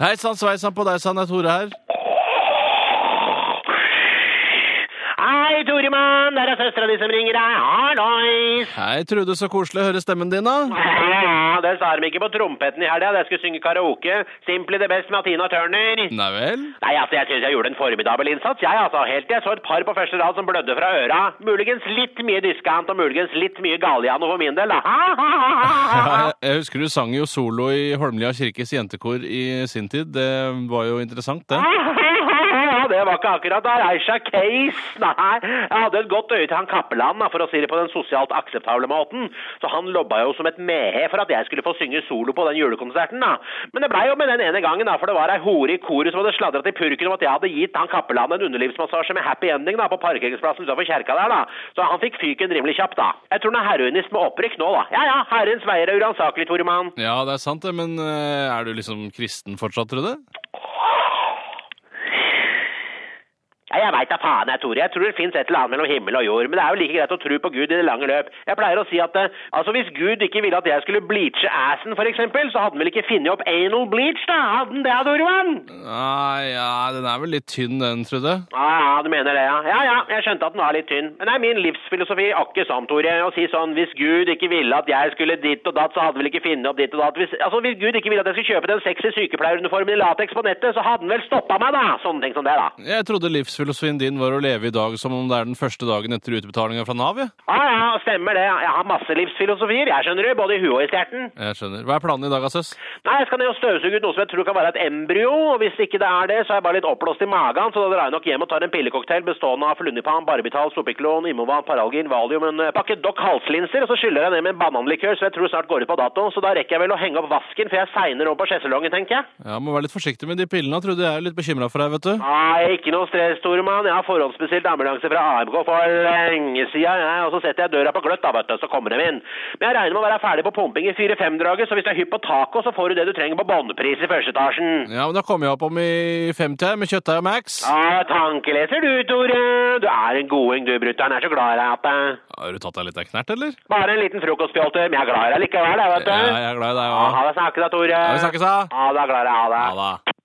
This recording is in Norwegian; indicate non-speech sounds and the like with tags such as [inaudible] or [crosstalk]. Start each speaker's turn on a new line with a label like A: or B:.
A: Hei sann, sveisann på deg sann, det er Tore her.
B: Hei, Toremann, der er søstera di som ringer deg. Hallois!
A: Hei, Trude, så koselig å høre stemmen din, da.
B: Ja, det sa de ikke på trompeten i helga da jeg skulle synge karaoke. Simply the best med Tina Turner.
A: Nei vel?
B: Nei, altså, jeg synes jeg gjorde en formidabel innsats, jeg, altså. Helt til jeg så et par på første rad som blødde fra øra. Muligens litt mye diskant og muligens litt mye galliano for min del, da. Ha, ha, ha, ha, ha.
A: Ja, jeg- jeg husker du sang jo solo i Holmlia kirkes jentekor i sin tid. Det var jo interessant, det.
B: [laughs] Det var ikke akkurat Aisha Case, nei. Jeg hadde et godt øye til han Kappeland, da, for å si det på den sosialt akseptable måten. Så han lobba jo som et mehe for at jeg skulle få synge solo på den julekonserten, da. Men det blei jo med den ene gangen, da, for det var ei hore i koret som hadde sladra til purken om at jeg hadde gitt han Kappeland en underlivsmassasje med happy ending, da, på parkeringsplassen utenfor kjerka der, da. Så han fikk fyken rimelig kjapt, da. Jeg tror han er heroinist med opprykk nå, da. Ja ja, herrens veier er uransakelig, Toremann.
A: Ja, det er sant det, men eh, er du liksom kristen fortsatt, Trude?
B: Ja, jeg veit da faen, jeg, Tore. Jeg tror det fins et eller annet mellom himmel og jord. Men det er jo like greit å tro på Gud i det lange løp. Jeg pleier å si at eh, altså, hvis Gud ikke ville at jeg skulle bleache assen, for eksempel, så hadde han vel ikke funnet opp anal bleach, da? Hadde han det, Dorvan?
A: Nei, ja, den er vel litt tynn den, Trude.
B: Ja, ja, du mener det, ja. Ja, ja, jeg skjønte at den var litt tynn. Men det er min livsfilosofi akkurat sånn, Tore. Å si sånn, hvis Gud ikke ville at jeg skulle ditt og datt, så hadde vel ikke funnet opp ditt og datt. Hvis, altså, hvis Gud ikke ville at jeg skulle kjøpe den sexy sykepleieruniformen i lateks på nettet, så hadde han vel stoppa meg, da. Sånne ting som det, da.
A: Jeg trodde livsfilosofien din var å leve i dag som om det er den første dagen etter utbetalinga fra Nav, jeg.
B: Ja, ja, stemmer det. Jeg har masse livsfilosofier, jeg skjønner du, både i huet og i stjerten.
A: Jeg skjønner. Hva er planen i dag, da, søs?
B: Nei, jeg skal ned og støvsuge ut noe som jeg tror kan være et embryo, og hvis ikke det er det, så er jeg bare litt oppblåst i magen, så da drar jeg nok hjem og tar en pillecocktail bestående av flunipan, barbital, sopiklon, imovan, paralgin, valium, en eh, pakke Doc halslinser, og så skyller jeg ned med en bananlikør som jeg tror snart går ut på dato, så da rekker jeg vel å henge opp vasken, for jeg segner over på skjesselongen, tenker jeg.
A: Ja, Må være litt forsiktig med de pillene, Trude. Jeg er litt bekymra for deg, vet du.
B: Nei, ikke noe stress, Toremann. Jeg har forhåndsbestilt ambulanse fra AMK for lenge siden, jeg, og så setter jeg døra på gløtt, da, vet du, så kommer de inn. Men jeg regner med å være ferdig på pumping i 4-5-draget, så hvis du er hypp på taco, så får du det du trenger på bondepris i første etasjen.
A: Ja, men da kommer jeg opp om i 50 med kjøttdeig og Max.
B: Ja, tankeleser du, Tore. Du er en goding, du, brutter'n. Jeg er så glad i deg at eh,
A: Har du tatt deg litt av knert, eller?
B: Bare en liten frokostpjolter, men jeg er glad i deg likevel, jeg,
A: Ja,
B: vet du.
A: jeg er glad i deg
B: Ja,
A: òg.
B: ha det snakkes, da, Tore.
A: Ja, vi snakkes, da.
B: Ha det, glad i deg. Ha det.
A: Ha det.